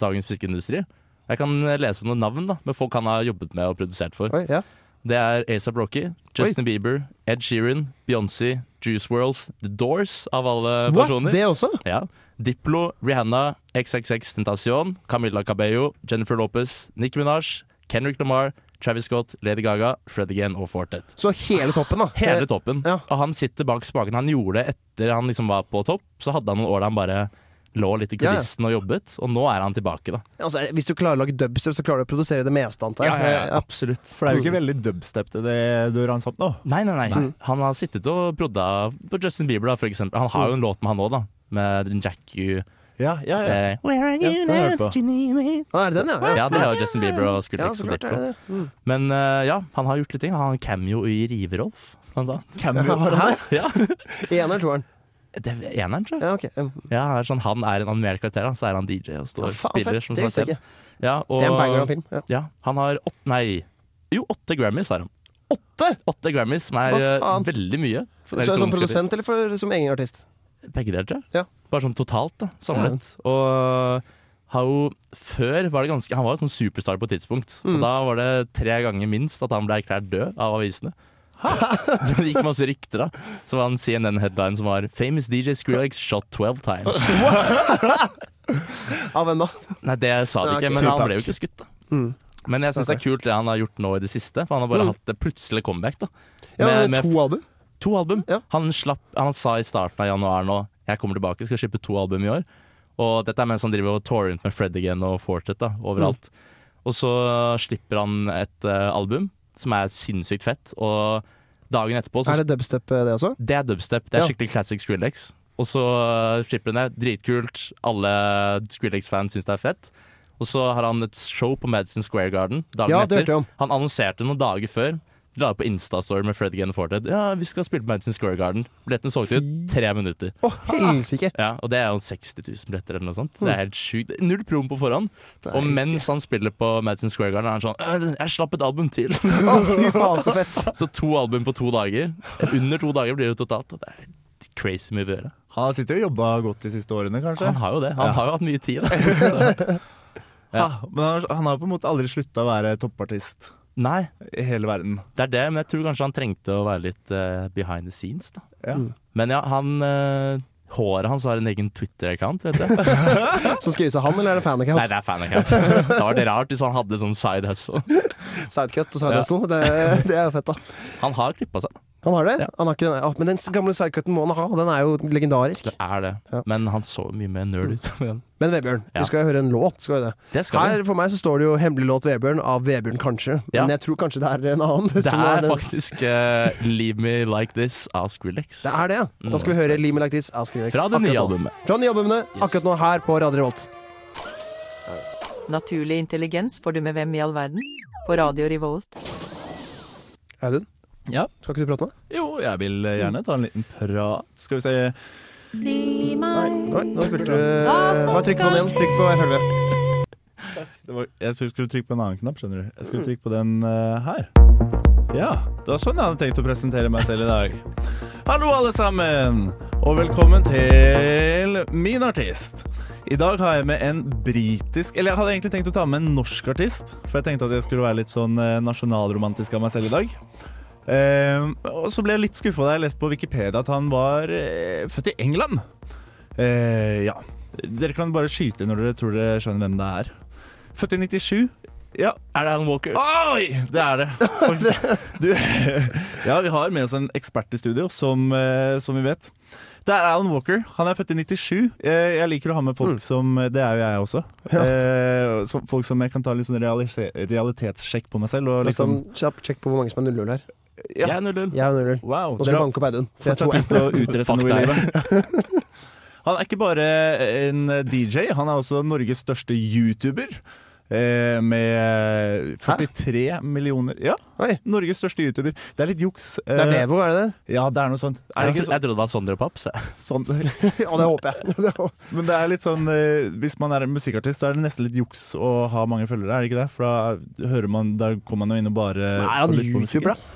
Speaker 2: dagens musikkindustri. Jeg kan eh, lese opp noen navn da, med folk han har jobbet med og produsert for.
Speaker 1: Oi, ja.
Speaker 2: Det er A$AP Rocky, Justin Bieber, Ed Sheeran, Beyoncé, Juice WRLDs, The Doors av alle
Speaker 1: What?
Speaker 2: personer.
Speaker 1: Det også?
Speaker 2: Ja. Diplo, Rihanna, XXX Tentacion, Camilla Cabello, Jennifer Lopez, Nicki Minaj, Kendrick Lamar, Travis Scott, Lady Gaga, Fred Again og Fortet.
Speaker 1: Så hele toppen, da.
Speaker 2: Hele
Speaker 1: Det-
Speaker 2: toppen.
Speaker 1: Eh, ja.
Speaker 2: Og han sitter bak spaken. Han gjorde det etter han liksom var på topp. Så hadde han noen år der han bare lå litt i
Speaker 1: Ja, ja.
Speaker 2: kulissen og jobbet, og nå er han tilbake, da.
Speaker 1: Altså, hvis du klarer å lage dubstep, så klarer du å produsere det meste, antar jeg.
Speaker 2: Absolutt.
Speaker 3: For det er jo ikke veldig dubstep til det du ranser opp nå.
Speaker 2: Nei, nei, nei. Han har sittet og prodda på Justin Bieber, da, for eksempel. Han har jo en låt med han òg, da. Med den Jack U.
Speaker 3: Ja, ja, ja.
Speaker 2: Eh,
Speaker 3: ja det har jeg hørt på.
Speaker 1: Å, Ah, er det den, ja?
Speaker 2: ja, det har jo Justin Bieber og skulle
Speaker 1: Ja,
Speaker 2: ikke
Speaker 1: så
Speaker 2: så
Speaker 1: klart
Speaker 2: blitt
Speaker 1: er
Speaker 2: på.
Speaker 1: det det. Mm.
Speaker 2: Men eh, ja, han har gjort litt ting. Han har en cameo i Riverolf, blant annet. [laughs]
Speaker 3: Cameo har han det.
Speaker 2: Ja.
Speaker 1: I en eller toeren?
Speaker 2: Det er eneren, tror jeg.
Speaker 1: Ja, ok. Mm.
Speaker 2: Ja, han er sånn, han er en animert karakter, da. Så er han DJ og står
Speaker 1: Ja, faen,
Speaker 2: spiller.
Speaker 1: fett.
Speaker 2: Som
Speaker 1: det visste jeg
Speaker 2: sagt.
Speaker 1: ikke.
Speaker 2: Ja, og,
Speaker 1: Det er en banger av en film. Ja.
Speaker 2: Ja, han har åtte, nei, jo åtte Grammys har han.
Speaker 1: Åtte!
Speaker 2: Åtte Grammys, som er
Speaker 1: Hva faen?
Speaker 2: eh, veldig mye.
Speaker 1: Så som
Speaker 2: for elektronisk artist.
Speaker 1: produsent eller for, som egen artist?
Speaker 2: Begge deler, tror jeg.
Speaker 1: Ja.
Speaker 2: Bare sånn totalt, da. Samlet. Og har jo Før var det ganske Han var jo sånn superstar på et tidspunkt.
Speaker 1: Mm.
Speaker 2: Og da var det tre ganger minst at han ble erklært død av avisene. [laughs] det gikk masse rykter, da. Så var en CNN-headline som var 'Famous DJ Skrillex shot 12
Speaker 1: [laughs]
Speaker 2: times'.
Speaker 1: Av hvem da? Mm.
Speaker 2: Nei, det sa de
Speaker 1: Nei,
Speaker 2: ikke,
Speaker 1: ok.
Speaker 2: men han
Speaker 3: Tupac.
Speaker 2: ble jo ikke skutt, da. Men jeg syns det er kult det han har gjort nå i det siste, for han har bare
Speaker 1: Mm.
Speaker 2: hatt det plutselig comeback. da
Speaker 1: Ja,
Speaker 2: Med- med
Speaker 1: to album.
Speaker 2: To album.
Speaker 1: Ja.
Speaker 2: Han, slapp, han sa i starten av januar nå Jeg kommer tilbake, skal slippe to album i år. Og dette er mens han driver og tourer rundt med Fred again og Fortet da, overalt. Og så slipper han et eh, album som er sinnssykt fett, og dagen etterpå så
Speaker 1: Er det dubstep, eh, det også?
Speaker 2: det er dubstep. Det er
Speaker 1: Ja.
Speaker 2: skikkelig classic Skrillex. Og så øh, slipper hun det. Dritkult. Alle Skrillex-fans syns det er fett. Og så har han et show på Madison Square Garden dagen
Speaker 1: Ja, det hørte jeg
Speaker 2: etter.
Speaker 1: om.
Speaker 2: Han annonserte noen dager før. La ut på Insta-story med Fred Again Forted. Ja, vi skal spille på Madison Square Garden. Billetten solgte ut tre minutter.
Speaker 1: Å, helsike!
Speaker 2: Ja, Og det er jo 60 000 billetter eller noe sånt. Det er helt sjukt. Null prom på forhånd. Og mens han spiller på Madison Square Garden, er han sånn «Øh, Jeg slapp et album til. [laughs]
Speaker 1: Å, fy faen, så fett!
Speaker 2: Så to album på to dager. Under to dager blir det totalt. Og det er helt crazy mye å gjøre.
Speaker 3: Han sitter jo og jobba godt de siste årene, kanskje.
Speaker 2: Han har jo det. Han har jo hatt mye [laughs] tid. Da. Så.
Speaker 3: Ja. Men han har- han har på en måte aldri slutta å være toppartist
Speaker 2: Nei,
Speaker 3: i hele verden.
Speaker 2: det er det, men jeg tror kanskje han trengte å være litt eh, behind the scenes, da.
Speaker 3: Ja.
Speaker 2: Men ja, han eh, Håret hans har en egen Twitter-account, vet du.
Speaker 1: Så skrives det han, eller er det
Speaker 2: [laughs] Nei,
Speaker 1: fanaccount?
Speaker 2: det er fan-account. [laughs] Da var det rart hvis han hadde sånn side hustle.
Speaker 1: Sidecut og
Speaker 2: Ja.
Speaker 1: sidehustle. Det, det er jo fett, da.
Speaker 2: Han har klippa seg,
Speaker 1: Han har det?
Speaker 2: Ja.
Speaker 1: Han har ikke den. Å, men den gamle sidecuten må han ha, den er jo legendarisk.
Speaker 2: det er det.
Speaker 1: Ja.
Speaker 2: Men han så mye mer nerd ut.
Speaker 1: Men Vebjørn,
Speaker 2: Ja.
Speaker 1: vi skal jo høre en låt. skal vi det?
Speaker 2: Det skal
Speaker 1: Her
Speaker 2: vi.
Speaker 1: For meg så står det jo 'Hemmelig låt Vebjørn' av Vebjørn Kanskje.
Speaker 2: Ja.
Speaker 1: Men jeg tror kanskje det er en annen.
Speaker 2: Det
Speaker 1: som
Speaker 2: er
Speaker 1: den-
Speaker 2: faktisk eh, Leave Me Like This av Skrillex.
Speaker 1: det er det, ja. Da skal vi høre 'Lime Like This' av Skrillex.
Speaker 2: Fra det
Speaker 1: akkurat
Speaker 2: nye
Speaker 1: nå.
Speaker 2: albumet.
Speaker 1: Fra de nye albumene,
Speaker 2: Yes.
Speaker 1: akkurat nå her på Radio Revolt.
Speaker 7: Naturlig intelligens får du med hvem i all verden? På Radio Revolt.
Speaker 1: Audun,
Speaker 3: Ja.
Speaker 1: skal ikke du prate med meg?
Speaker 3: Jo, jeg vil eh, gjerne ta en liten prat. Skal vi se
Speaker 8: Si meg
Speaker 1: Nei, nå spilte
Speaker 8: Hva
Speaker 1: du
Speaker 8: som
Speaker 1: Bare trykk på den igjen. Trykk på FLV.
Speaker 3: det var, Jeg skulle skulle trykke på en annen knapp, skjønner du. Jeg skulle trykke på den eh, her. Ja, det var sånn jeg hadde tenkt å presentere meg selv i dag. Hallo, alle sammen, og velkommen til min artist. I dag har jeg med en britisk Eller jeg hadde egentlig tenkt å ta med en norsk artist, for jeg tenkte at jeg skulle være litt sånn eh, nasjonalromantisk av meg selv i dag. Eh, og så ble jeg litt skuffa da jeg leste på Wikipedia at han var eh, født i England. Eh, ja. Dere kan bare skyte når dere tror dere skjønner hvem det er. Født i 97. Ja,
Speaker 2: Er det Alan Walker?
Speaker 3: Oi! Det er det. Du, ja, vi har med oss en ekspert i studio, som, eh, som vi vet. Det er Alan Walker. Han er født i 97. Eh, Jeg liker å ha med folk som Det er jo jeg også. Eh, som- Folk som jeg kan ta litt sånn realise- realitetssjekk på meg selv. Og liksom,
Speaker 1: Liksom, kjapp sjekk på hvor mange som er nullhull her.
Speaker 3: ja.
Speaker 2: Jeg er 0-0.
Speaker 1: Jeg er nullhull.
Speaker 3: Wow.
Speaker 1: Nå skal
Speaker 3: dere
Speaker 1: jeg
Speaker 3: har-
Speaker 1: banke opp Audun. for
Speaker 3: fortsatt
Speaker 1: jeg tror-
Speaker 3: tenkt å utrette
Speaker 2: Fuck
Speaker 3: noe i
Speaker 2: deg.
Speaker 3: livet. [laughs] Han er ikke bare en DJ, han er også Norges største YouTuber. eh, Med 43 millioner Ja,
Speaker 1: Oi.
Speaker 3: Norges største YouTuber. Det er litt juks. eh,
Speaker 1: Det er Vevo, er det
Speaker 3: [laughs]
Speaker 1: det?
Speaker 3: Ja, det er noe sånt. Er
Speaker 2: Jeg,
Speaker 3: det
Speaker 2: tro-
Speaker 3: ikke
Speaker 2: jeg trodde det var Sondre Paps. jeg.
Speaker 3: sånn,
Speaker 1: Ja, det håper jeg. [laughs] Det hå-
Speaker 3: Men det er litt sånn eh, Hvis man er en musikkartist, så er det nesten litt juks å ha mange følgere, er det ikke det? For da hører man Da kommer man jo inn og bare
Speaker 1: Er
Speaker 3: Eh,
Speaker 1: han
Speaker 3: får lytte på musikken.
Speaker 1: YouTuber, da?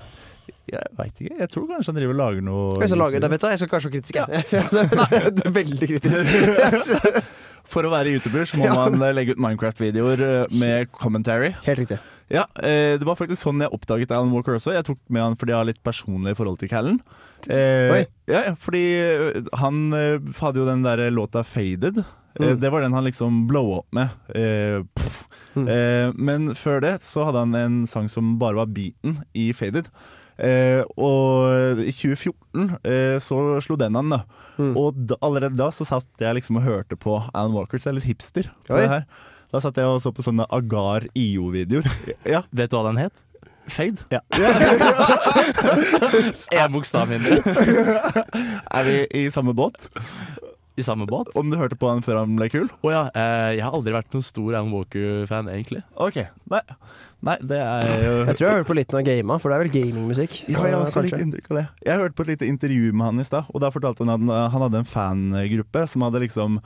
Speaker 3: Jeg veit ikke. Jeg tror kanskje han driver og lager noe
Speaker 1: Hvis jeg lager
Speaker 3: YouTube.
Speaker 1: det, vet du, jeg skal kanskje være så kritisk, jeg. [laughs] Det er Veldig kritisk.
Speaker 3: [laughs] For å være YouTuber så må
Speaker 1: Ja.
Speaker 3: man eh, legge ut Minecraft-videoer eh, med commentary.
Speaker 1: Helt riktig.
Speaker 3: Ja, eh, Det var faktisk sånn jeg oppdaget Alan Walker også. Jeg tok med han fordi jeg har litt personlig forhold til Callen. Eh,
Speaker 1: Oi.
Speaker 3: ja, ja, fordi eh, han eh, hadde jo den der låta 'Faded'. Eh,
Speaker 1: Mm.
Speaker 3: Det var den han liksom blow up med. Eh, pff.
Speaker 1: Mm.
Speaker 3: Eh, men før det så hadde han en sang som bare var beaten i Faded. Eh, og i 2014 eh, så slo den an, da.
Speaker 1: Mm.
Speaker 3: Og da, allerede da så satt jeg liksom og hørte på Alan Walker, så jeg er litt hipster. På
Speaker 1: Oi.
Speaker 3: det her. Da satt jeg og så på sånne Agar
Speaker 1: [laughs]
Speaker 3: IO-videoer. Ja,
Speaker 2: Vet du hva den het?
Speaker 3: Fade.
Speaker 2: Én bokstav mindre.
Speaker 3: Er vi i samme båt?
Speaker 2: I samme båt.
Speaker 3: Om du hørte på han før han ble kul?
Speaker 2: Å ja, eh, jeg har aldri vært noen stor Alan Walker-fan, egentlig.
Speaker 3: Ok, nei, nei det er jo [laughs]
Speaker 1: Jeg tror jeg hørte på litt når jeg gama, for det er vel gamingmusikk.
Speaker 3: ja, jeg har også
Speaker 1: kanskje.
Speaker 3: litt inntrykk av det. Jeg hørte på et lite intervju med han i stad, og da fortalte han at han- han hadde en fangruppe som hadde liksom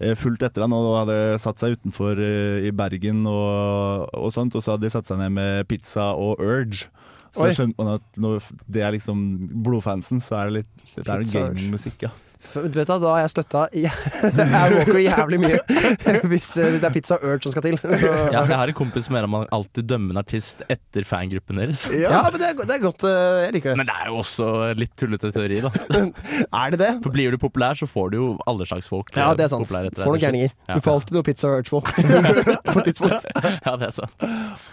Speaker 3: eh, fulgt etter han og hadde satt seg utenfor eh, i Bergen og, og sånt, og så hadde de satt seg ned med pizza og Urge. Så
Speaker 1: Oi.
Speaker 3: skjønte man at når det er liksom blodfansen, så er det litt Det er
Speaker 1: Pizza Urge.
Speaker 3: gamingmusikk, ja.
Speaker 1: F- Vet du hva, da har jeg støtta [laughs] Alan Walker jævlig mye. [laughs] Hvis eh, det er pizza Urge som skal til. Så-
Speaker 2: Ja, jeg har en kompis som mener man alltid dømmer en artist etter fangruppen deres.
Speaker 1: Ja, men det er, go- det er godt. eh, Jeg liker det.
Speaker 2: Men det er jo også litt tullete teori, da.
Speaker 1: Er det det?
Speaker 2: For blir du populær, så får du jo alle slags folk.
Speaker 1: Ja,
Speaker 2: eh,
Speaker 1: det er sant.
Speaker 2: populær etter
Speaker 1: Får noen
Speaker 2: deg, eller
Speaker 1: gærninger.
Speaker 2: shit.
Speaker 1: Du får alltid noe pizza Urge på.
Speaker 2: Ja. [laughs] ja, det er sant.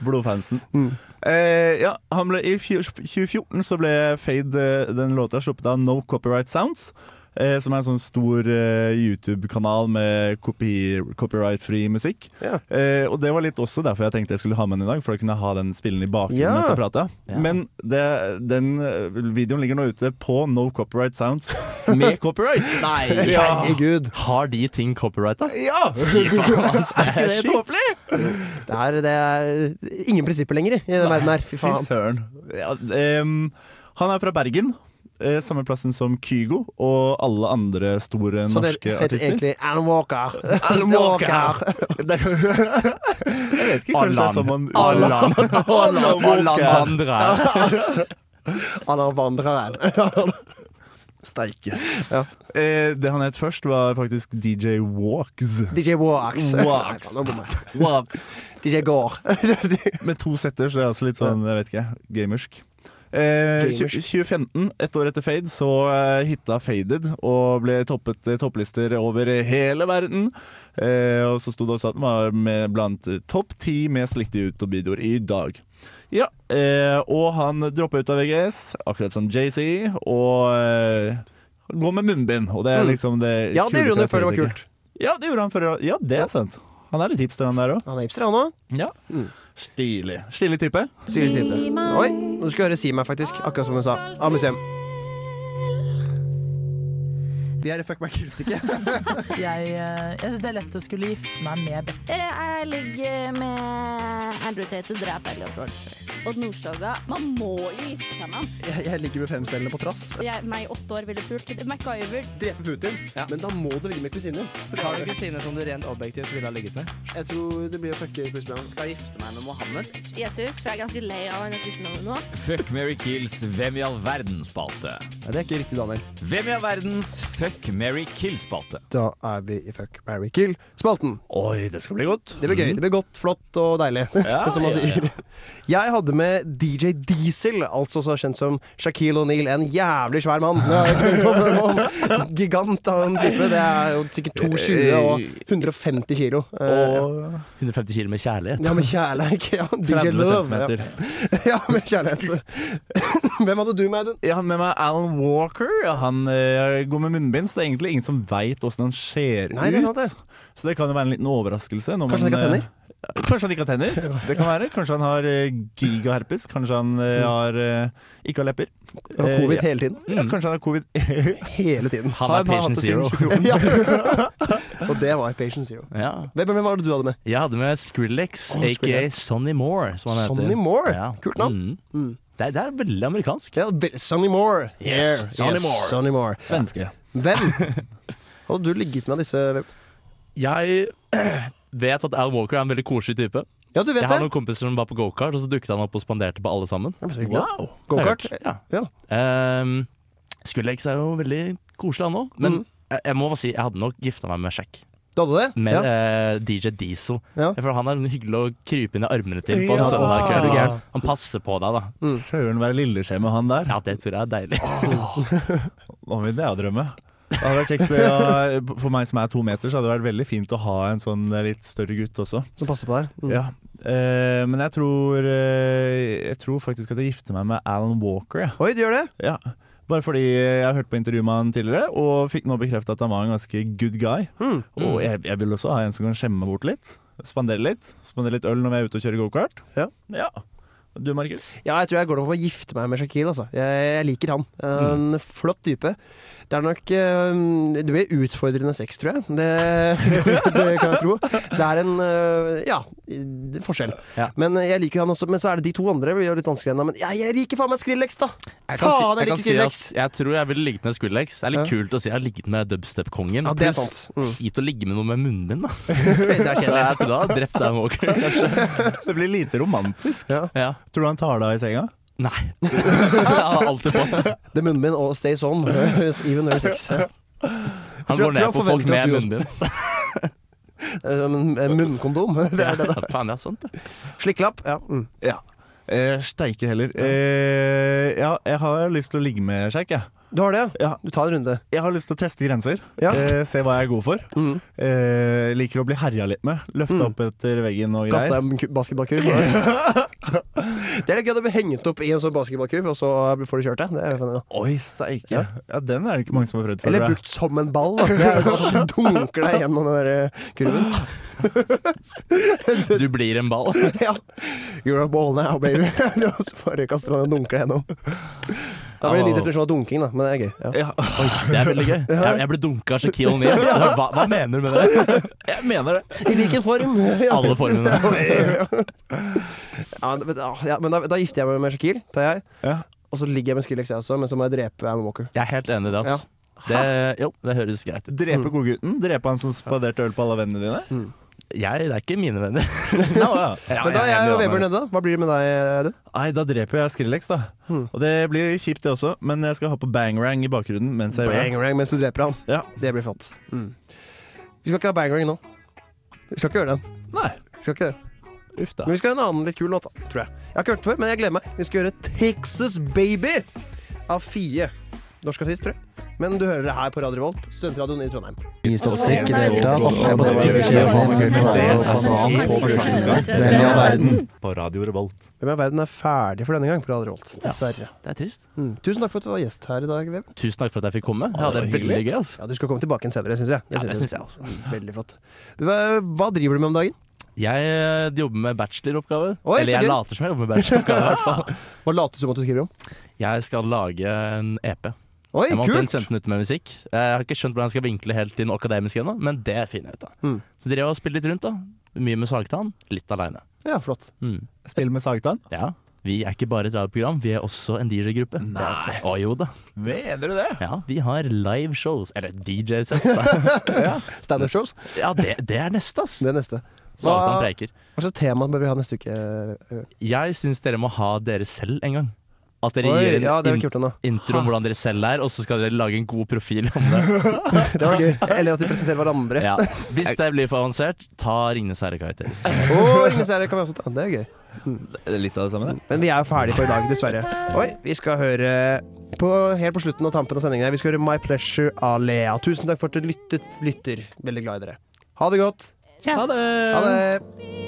Speaker 3: Blodfansen.
Speaker 1: Mm.
Speaker 3: Eh, ja, han ble, I fjor- 2014 så ble Fade, eh, den låta, sluppet av No Copyright Sounds. Eh, som er en sånn stor eh, YouTube-kanal med kopi, copyright-fri musikk.
Speaker 1: Ja.
Speaker 3: Eh, og det var litt også derfor jeg tenkte jeg skulle ha med den i dag, for da kunne jeg ha den spillen i bakgrunnen
Speaker 1: Ja.
Speaker 3: mens jeg prata.
Speaker 2: Ja.
Speaker 3: Men det, den eh, videoen ligger nå ute på No Copyright Sounds med
Speaker 2: [laughs]
Speaker 3: copyright!
Speaker 2: Nei,
Speaker 3: Ja.
Speaker 1: Herregud.
Speaker 2: Har de ting copyrighta?
Speaker 3: Ja!
Speaker 2: Fy faen, ass, det er
Speaker 3: helt
Speaker 2: sjukt.
Speaker 3: tåpelig?
Speaker 1: Det er, det er ingen prinsipper lenger i den verden her. Fy
Speaker 3: Fy
Speaker 1: faen.
Speaker 3: søren. Ja, em, han er fra Bergen. eh, Samme plassen som Kygo og alle andre store
Speaker 1: Så det
Speaker 3: norske
Speaker 1: heter
Speaker 3: artister.
Speaker 1: egentlig Alan Walker.
Speaker 3: Alan Walker. Det er- Jeg vet ikke, kanskje det er
Speaker 2: Allan.
Speaker 3: sånn man
Speaker 2: Allan.
Speaker 3: Allan
Speaker 2: Allan
Speaker 3: Walker.
Speaker 2: vandrer.
Speaker 1: Alan vandrer
Speaker 3: Steike.
Speaker 1: Ja.
Speaker 3: Eh, Det han het først, var faktisk DJ Walks.
Speaker 1: DJ
Speaker 3: Walks.
Speaker 1: Walks. [laughs] Nei, faen, nå bommer jeg.
Speaker 3: Walks.
Speaker 1: DJ Gore.
Speaker 3: Med to setter, så det er altså litt sånn, jeg vet ikke, gamersk. Eh, tju-
Speaker 1: Gamersk.
Speaker 3: 2015, ett år etter Fade, så eh, hitta Faded og ble toppet eh, topplister over hele verden. Eh, og så sto det også at den var med blant eh, topp ti mest likte YouTube-videoer i dag. Ja, eh, og han droppa ut av VGS, akkurat som JC, og eh, går med munnbind. Og det er
Speaker 1: Mm.
Speaker 3: liksom det
Speaker 1: Ja, det
Speaker 3: kule
Speaker 1: gjorde han før det var
Speaker 3: karakteristikken.
Speaker 1: kult.
Speaker 3: Ja, det gjorde han før det var Ja, det er sant. Han er litt hipster, han der òg.
Speaker 1: Han er hipster, han òg.
Speaker 3: Ja.
Speaker 1: Mm.
Speaker 3: Stilig. Stilig type.
Speaker 1: Sier litt lite. Oi, nå skal jeg høre Si meg, faktisk. Akkurat som hun sa. Av museum. Vi er i Fuck meg kunststykke.
Speaker 9: Jeg, eh, jeg syns det er lett å skulle gifte meg med Beck.
Speaker 10: Jeg ligger med Andrew Tate, dreper Elliot Rolf. Odd Nordstoga. Man må jo gifte seg med ham.
Speaker 1: Jeg, jeg ligger med femcellene på trass.
Speaker 10: Jeg, meg i åtte år ville pult. MacGyver.
Speaker 1: Drepe Putin. Men da må du ligge med kusinen.
Speaker 11: Har du kusiner som du rent objektivt ville ha ligget med?
Speaker 1: Jeg tror det blir å fucke Chris
Speaker 11: Skal gifte meg med Mohammed?
Speaker 10: Jesus, for jeg er ganske lei av han kristendommen nå.
Speaker 11: Fuck Mary Kills Hvem i all verden-spalte.
Speaker 1: Nei, det er ikke riktig, Daniel.
Speaker 11: Hvem i all verdens Fuck Mary Kill-spalte.
Speaker 1: Da er vi i Fuck, marry, kill-spalten.
Speaker 3: Oi, det skal bli godt. Mhm.
Speaker 1: Det blir gøy. Det blir godt, flott og deilig, [laughs] som man
Speaker 11: ja,
Speaker 1: sier. Jeg hadde med DJ Diesel, altså så kjent som Shaquille O'Neal. En jævlig svær mann. Det har jeg ikke tenkt på
Speaker 3: [laughs]
Speaker 1: før nå. Gigant av en type. Det er jo sikkert 220 og 150 kilo. Eh,
Speaker 3: Og
Speaker 2: 150 kilo med kjærlighet.
Speaker 1: Ja, med kjærlighet.
Speaker 3: [laughs]
Speaker 1: Ja,
Speaker 3: 30
Speaker 1: DJ Love. Ja.
Speaker 3: centimeter.
Speaker 1: [laughs] ja, med kjærlighet. [laughs] Hvem hadde du med, Audun?
Speaker 3: Jeg hadde med meg Alan Walker. Han eh, går med munnbind, så det er egentlig ingen som veit åssen han ser
Speaker 1: Nei, det er sant,
Speaker 3: ut.
Speaker 1: det.
Speaker 3: Så det kan jo være en liten overraskelse. når
Speaker 1: Kanskje han ikke har
Speaker 3: eh, Kanskje han ikke har
Speaker 1: [laughs]
Speaker 3: tenner. Det kan være. Kanskje han har eh, gigaherpes. Kanskje han eh, har, eh, ikke har lepper.
Speaker 1: Mm. Han har
Speaker 3: Eh, ja.
Speaker 1: covid Mm. hele tiden.
Speaker 3: Ja, kanskje han har
Speaker 1: [laughs]
Speaker 3: covid.
Speaker 1: Hele tiden.
Speaker 2: Han
Speaker 3: har
Speaker 2: er patient
Speaker 3: hatt det siden
Speaker 2: zero. [laughs]
Speaker 3: 2014.
Speaker 1: Ja. Og det var Patient Zero.
Speaker 2: Ja.
Speaker 1: Hvem, hvem var det du hadde med?
Speaker 2: Jeg hadde med Skrillex,
Speaker 1: Å,
Speaker 2: aka
Speaker 1: Skrillex.
Speaker 2: Sonny Moore, som han heter.
Speaker 1: Sonny Moore?
Speaker 2: Ja.
Speaker 1: Kult navn.
Speaker 2: Mm.
Speaker 1: Mm.
Speaker 2: Det, er, det er veldig amerikansk.
Speaker 1: Ja, Bill- Sonny Moore.
Speaker 2: Yes, Sonny Moore.
Speaker 1: Sonny Moore.
Speaker 3: Svenske.
Speaker 1: Hvem [laughs] hadde du ligget med av disse
Speaker 2: Jeg [clears throat] vet at Al Walker er en veldig koselig type.
Speaker 1: Ja, du vet
Speaker 2: Jeg har
Speaker 1: det.
Speaker 2: noen kompiser som var på gokart, og så dukket han opp og spanderte på alle sammen.
Speaker 1: Ja, men så hyggelig, da.
Speaker 2: Wow.
Speaker 1: Go-kart?
Speaker 2: Har jeg hørt, Ja.
Speaker 1: Ja.
Speaker 2: Ehm, Skrillex er jo veldig koselig, han òg. Men
Speaker 1: Mhm.
Speaker 2: jeg, jeg må bare si jeg hadde nok gifta meg med Shack.
Speaker 1: Du hadde det?
Speaker 2: Med
Speaker 1: ja.
Speaker 2: eh, DJ Diesel.
Speaker 1: Ja.
Speaker 2: For han er hyggelig å krype inn i armene til på en
Speaker 3: Ja.
Speaker 2: søndag
Speaker 3: Er du
Speaker 2: kveld.
Speaker 3: gæren?
Speaker 2: Han passer på deg, da.
Speaker 3: Søren være lilleskje med han der.
Speaker 2: Ja, det tror jeg er deilig.
Speaker 3: Nå vil jeg drømme. Det hadde vært kjekt eh, ja, For meg som er to meter, så hadde det vært veldig fint å ha en sånn litt større gutt også.
Speaker 1: Som passer på deg? Mm.
Speaker 3: Ja. Eh, men jeg tror, eh, jeg tror faktisk at jeg gifter meg med Alan Walker. Ja.
Speaker 1: Oi, du gjør det?
Speaker 3: Ja. Bare fordi jeg har hørt på intervju med han tidligere, og fikk nå bekreftet at han var en ganske good guy.
Speaker 1: Mm.
Speaker 3: Og jeg, jeg vil også ha en som kan skjemme meg bort litt. Spandere litt. Spandere litt øl når vi er ute og kjører gokart.
Speaker 1: Ja.
Speaker 3: ja. Du, Markus?
Speaker 1: Ja, jeg tror jeg går over på å gifte meg med Shakil. Altså. Jeg, jeg liker han. Eh, En flott type. Det er nok eh, Det blir utfordrende sex, tror jeg. Det, [laughs] det kan jeg tro. Det er en eh, ja, det er forskjell. Men eh, jeg liker han også. Men så er det de to andre. Det blir jo litt vanskeligere ennå. Men jeg, jeg liker faen meg Skrillex, da!
Speaker 2: Jeg
Speaker 1: Faen,
Speaker 2: kan, si,
Speaker 1: jeg
Speaker 2: jeg kan
Speaker 1: liker
Speaker 2: si
Speaker 1: Skrillex!
Speaker 2: at jeg tror jeg ville ligget med Skrillex. Det er litt kult å si jeg har ligget med dubstep-kongen.
Speaker 1: Ja, det er
Speaker 2: Pluss,
Speaker 1: sant. Mm.
Speaker 2: kjipt å ligge med noe med munnen
Speaker 1: [laughs]
Speaker 2: din, da. Så jeg tror jeg har drept deg, Walker. Kanskje.
Speaker 3: [laughs] Det blir lite romantisk.
Speaker 2: Ja.
Speaker 3: Tror du han tar deg i senga?
Speaker 2: Nei.
Speaker 1: [laughs]
Speaker 2: [laughs] Jeg har alltid på.
Speaker 1: Det er munnen min og stays [laughs] on, even under sex.
Speaker 2: Han
Speaker 1: Tror-
Speaker 2: går ned
Speaker 1: tror jeg
Speaker 2: på folk
Speaker 1: forventer at du
Speaker 2: med
Speaker 1: også- [laughs]
Speaker 2: munnbind.
Speaker 1: Eh, men- eh, Munnkondom. [laughs] Det er det det.
Speaker 2: Faen, ja, sant det.
Speaker 1: Slikkelapp. Ja. Mm.
Speaker 3: Ja. Eh, Steike heller. Eh, ja, jeg har lyst til å ligge med Sjeik, jeg.
Speaker 1: Du har det,
Speaker 3: Ja.
Speaker 1: Du tar en runde.
Speaker 3: Jeg har lyst til å teste grenser.
Speaker 1: Ja.
Speaker 3: Eh, se hva jeg er god for.
Speaker 1: Mm.
Speaker 3: Eh, liker å bli herja litt med. Løfte opp etter veggen og
Speaker 1: Kaste
Speaker 3: greier.
Speaker 1: deg en ku- basketballkurv. det [laughs] er litt gøy å bli hengt opp i en sånn basketballkurv, og så får du kjørt deg. Det er jo funnet, da.
Speaker 3: Oi, steike. Ja. den er det ikke mange som har prøvd før.
Speaker 1: Eller
Speaker 3: tror jeg.
Speaker 1: brukt som en ball. Da. Det er jo sånn [laughs] at du dunker deg gjennom den der eh, kurven.
Speaker 2: Du blir en
Speaker 1: [laughs]
Speaker 2: ball.
Speaker 1: Ja. You're a ball now, baby. [laughs] Og så bare kaster han den og dunker deg gjennom. Da blir det en ny definisjon av dunking, da, men det er gøy. Ja.
Speaker 3: [laughs] Ja.
Speaker 2: Oi, det er veldig gøy. Jeg, jeg ble dunka av Shaquille
Speaker 1: [laughs]
Speaker 2: O'Neal. Hva, hva mener du med det?
Speaker 3: Jeg mener det.
Speaker 1: I hvilken
Speaker 2: [laughs]
Speaker 1: form? Ja,
Speaker 2: Alle formene.
Speaker 1: [laughs] men, ah, ja, men da, da gifter jeg meg med Shakil, tar jeg.
Speaker 3: Ja.
Speaker 1: Og så ligger jeg med Skrillex, jeg også, men så må jeg drepe Alan Walker.
Speaker 2: Jeg er helt enig i det, ass. Det, jo, det høres greit ut.
Speaker 3: [laughs] Drepe godgutten? Drepe han som spaderte øl på alle vennene dine?
Speaker 2: Jeg, det er ikke mine venner.
Speaker 3: [laughs] Ja, ja.
Speaker 2: Ja,
Speaker 1: Men da er
Speaker 2: [laughs] jeg
Speaker 1: jeg
Speaker 2: blir
Speaker 1: og Weber
Speaker 2: med.
Speaker 1: nede, da. Hva blir det med deg, Audun?
Speaker 3: Nei, da dreper jeg Skrillex, da.
Speaker 1: Hmm.
Speaker 3: Og det blir kjipt, det også. Men jeg skal ha på bangrang i bakgrunnen mens jeg gjør det.
Speaker 1: Bangrang mens du dreper han.
Speaker 3: Ja.
Speaker 1: Det blir flott. Vi skal ikke ha bangrang nå. Vi skal ikke gjøre den.
Speaker 3: Nei.
Speaker 1: Vi skal ikke det.
Speaker 3: Uff da.
Speaker 1: Men vi skal ha en annen litt kul låt, da, tror jeg. Jeg har ikke hørt den før, men jeg gleder meg. Vi skal gjøre Texas Baby av Fie. Norsk artist, tror jeg. Men du hører det her på Radio Volt, studentradioen i Trondheim.
Speaker 5: I statistikk i delta
Speaker 3: altså På Radio Revolt.
Speaker 1: Hvem er verden er ferdig for denne gang på Radio Volt. Dessverre.
Speaker 2: Det er trist.
Speaker 1: Mm. Tusen takk for at du var gjest her i dag, Veb.
Speaker 2: Tusen takk for at jeg fikk komme. Jeg hadde det
Speaker 3: det var
Speaker 2: veldig gøy, altså. ass.
Speaker 1: Ja, du skal komme tilbake igjen senere, syns jeg.
Speaker 2: Ja, det
Speaker 1: synes
Speaker 2: synes jeg også.
Speaker 1: jeg. Veldig flott. Hva, hva driver du med om dagen?
Speaker 2: Jeg eh, jobber med
Speaker 1: Oi,
Speaker 2: bacheloroppgave.
Speaker 1: så
Speaker 2: Eller jeg
Speaker 1: gøy.
Speaker 2: later som jeg jobber
Speaker 1: [laughs]
Speaker 2: med bacheloroppgave. i hvert fall.
Speaker 1: Hva later du som at du skriver om?
Speaker 2: Jeg skal lage en EP.
Speaker 1: Oi,
Speaker 2: Jeg må ha
Speaker 1: kult!
Speaker 2: omtrent 15 minutter med musikk. Jeg har ikke skjønt hvordan jeg skal vinkle helt inn akademisk ennå, men det finner jeg ut av.
Speaker 1: Mm.
Speaker 2: Så drev jeg og spilte litt rundt, da. Mye med sagtann, litt aleine.
Speaker 1: Ja, flott.
Speaker 2: Mm.
Speaker 3: Spill med sagtann.
Speaker 2: Ja. Vi er ikke bare et radioprogram, vi er også en DJ-gruppe. Nei! Å jo da.
Speaker 3: Mener du det?
Speaker 2: Ja, vi har live shows. Eller DJ-sets, da.
Speaker 1: [laughs] Standup shows.
Speaker 2: Ja, det, det er neste, ass.
Speaker 1: Det er neste.
Speaker 2: Sagtann
Speaker 1: Hva-
Speaker 2: preiker.
Speaker 1: Hva slags tema bør vi ha neste uke? eh,
Speaker 2: Jeg syns dere må ha dere selv en gang. At dere
Speaker 1: Oi,
Speaker 2: gir en
Speaker 1: ja, det har vi
Speaker 2: in-
Speaker 1: ikke gjort ennå.
Speaker 2: intro om hvordan dere selv er, og så skal dere lage en god profil om det.
Speaker 1: [laughs] Det var gøy.
Speaker 2: [laughs]
Speaker 1: Eller at de presenterer hverandre.
Speaker 2: Ja. Hvis det blir for avansert, ta Ringnes herre-karakter.
Speaker 1: Og Ringenes herre kan vi også ta. Det er gøy.
Speaker 3: Er det Litt av det samme, det.
Speaker 1: Men vi er jo ferdige for i dag, dessverre. Oi, vi skal høre på, helt på slutten og tampen av sendingen her, vi skal høre My Pleasure av Lea. Tusen takk for at du lyttet, lytter. Veldig glad i dere. Ha det godt.
Speaker 10: Ja.
Speaker 3: det!
Speaker 1: Ha det.
Speaker 10: Feel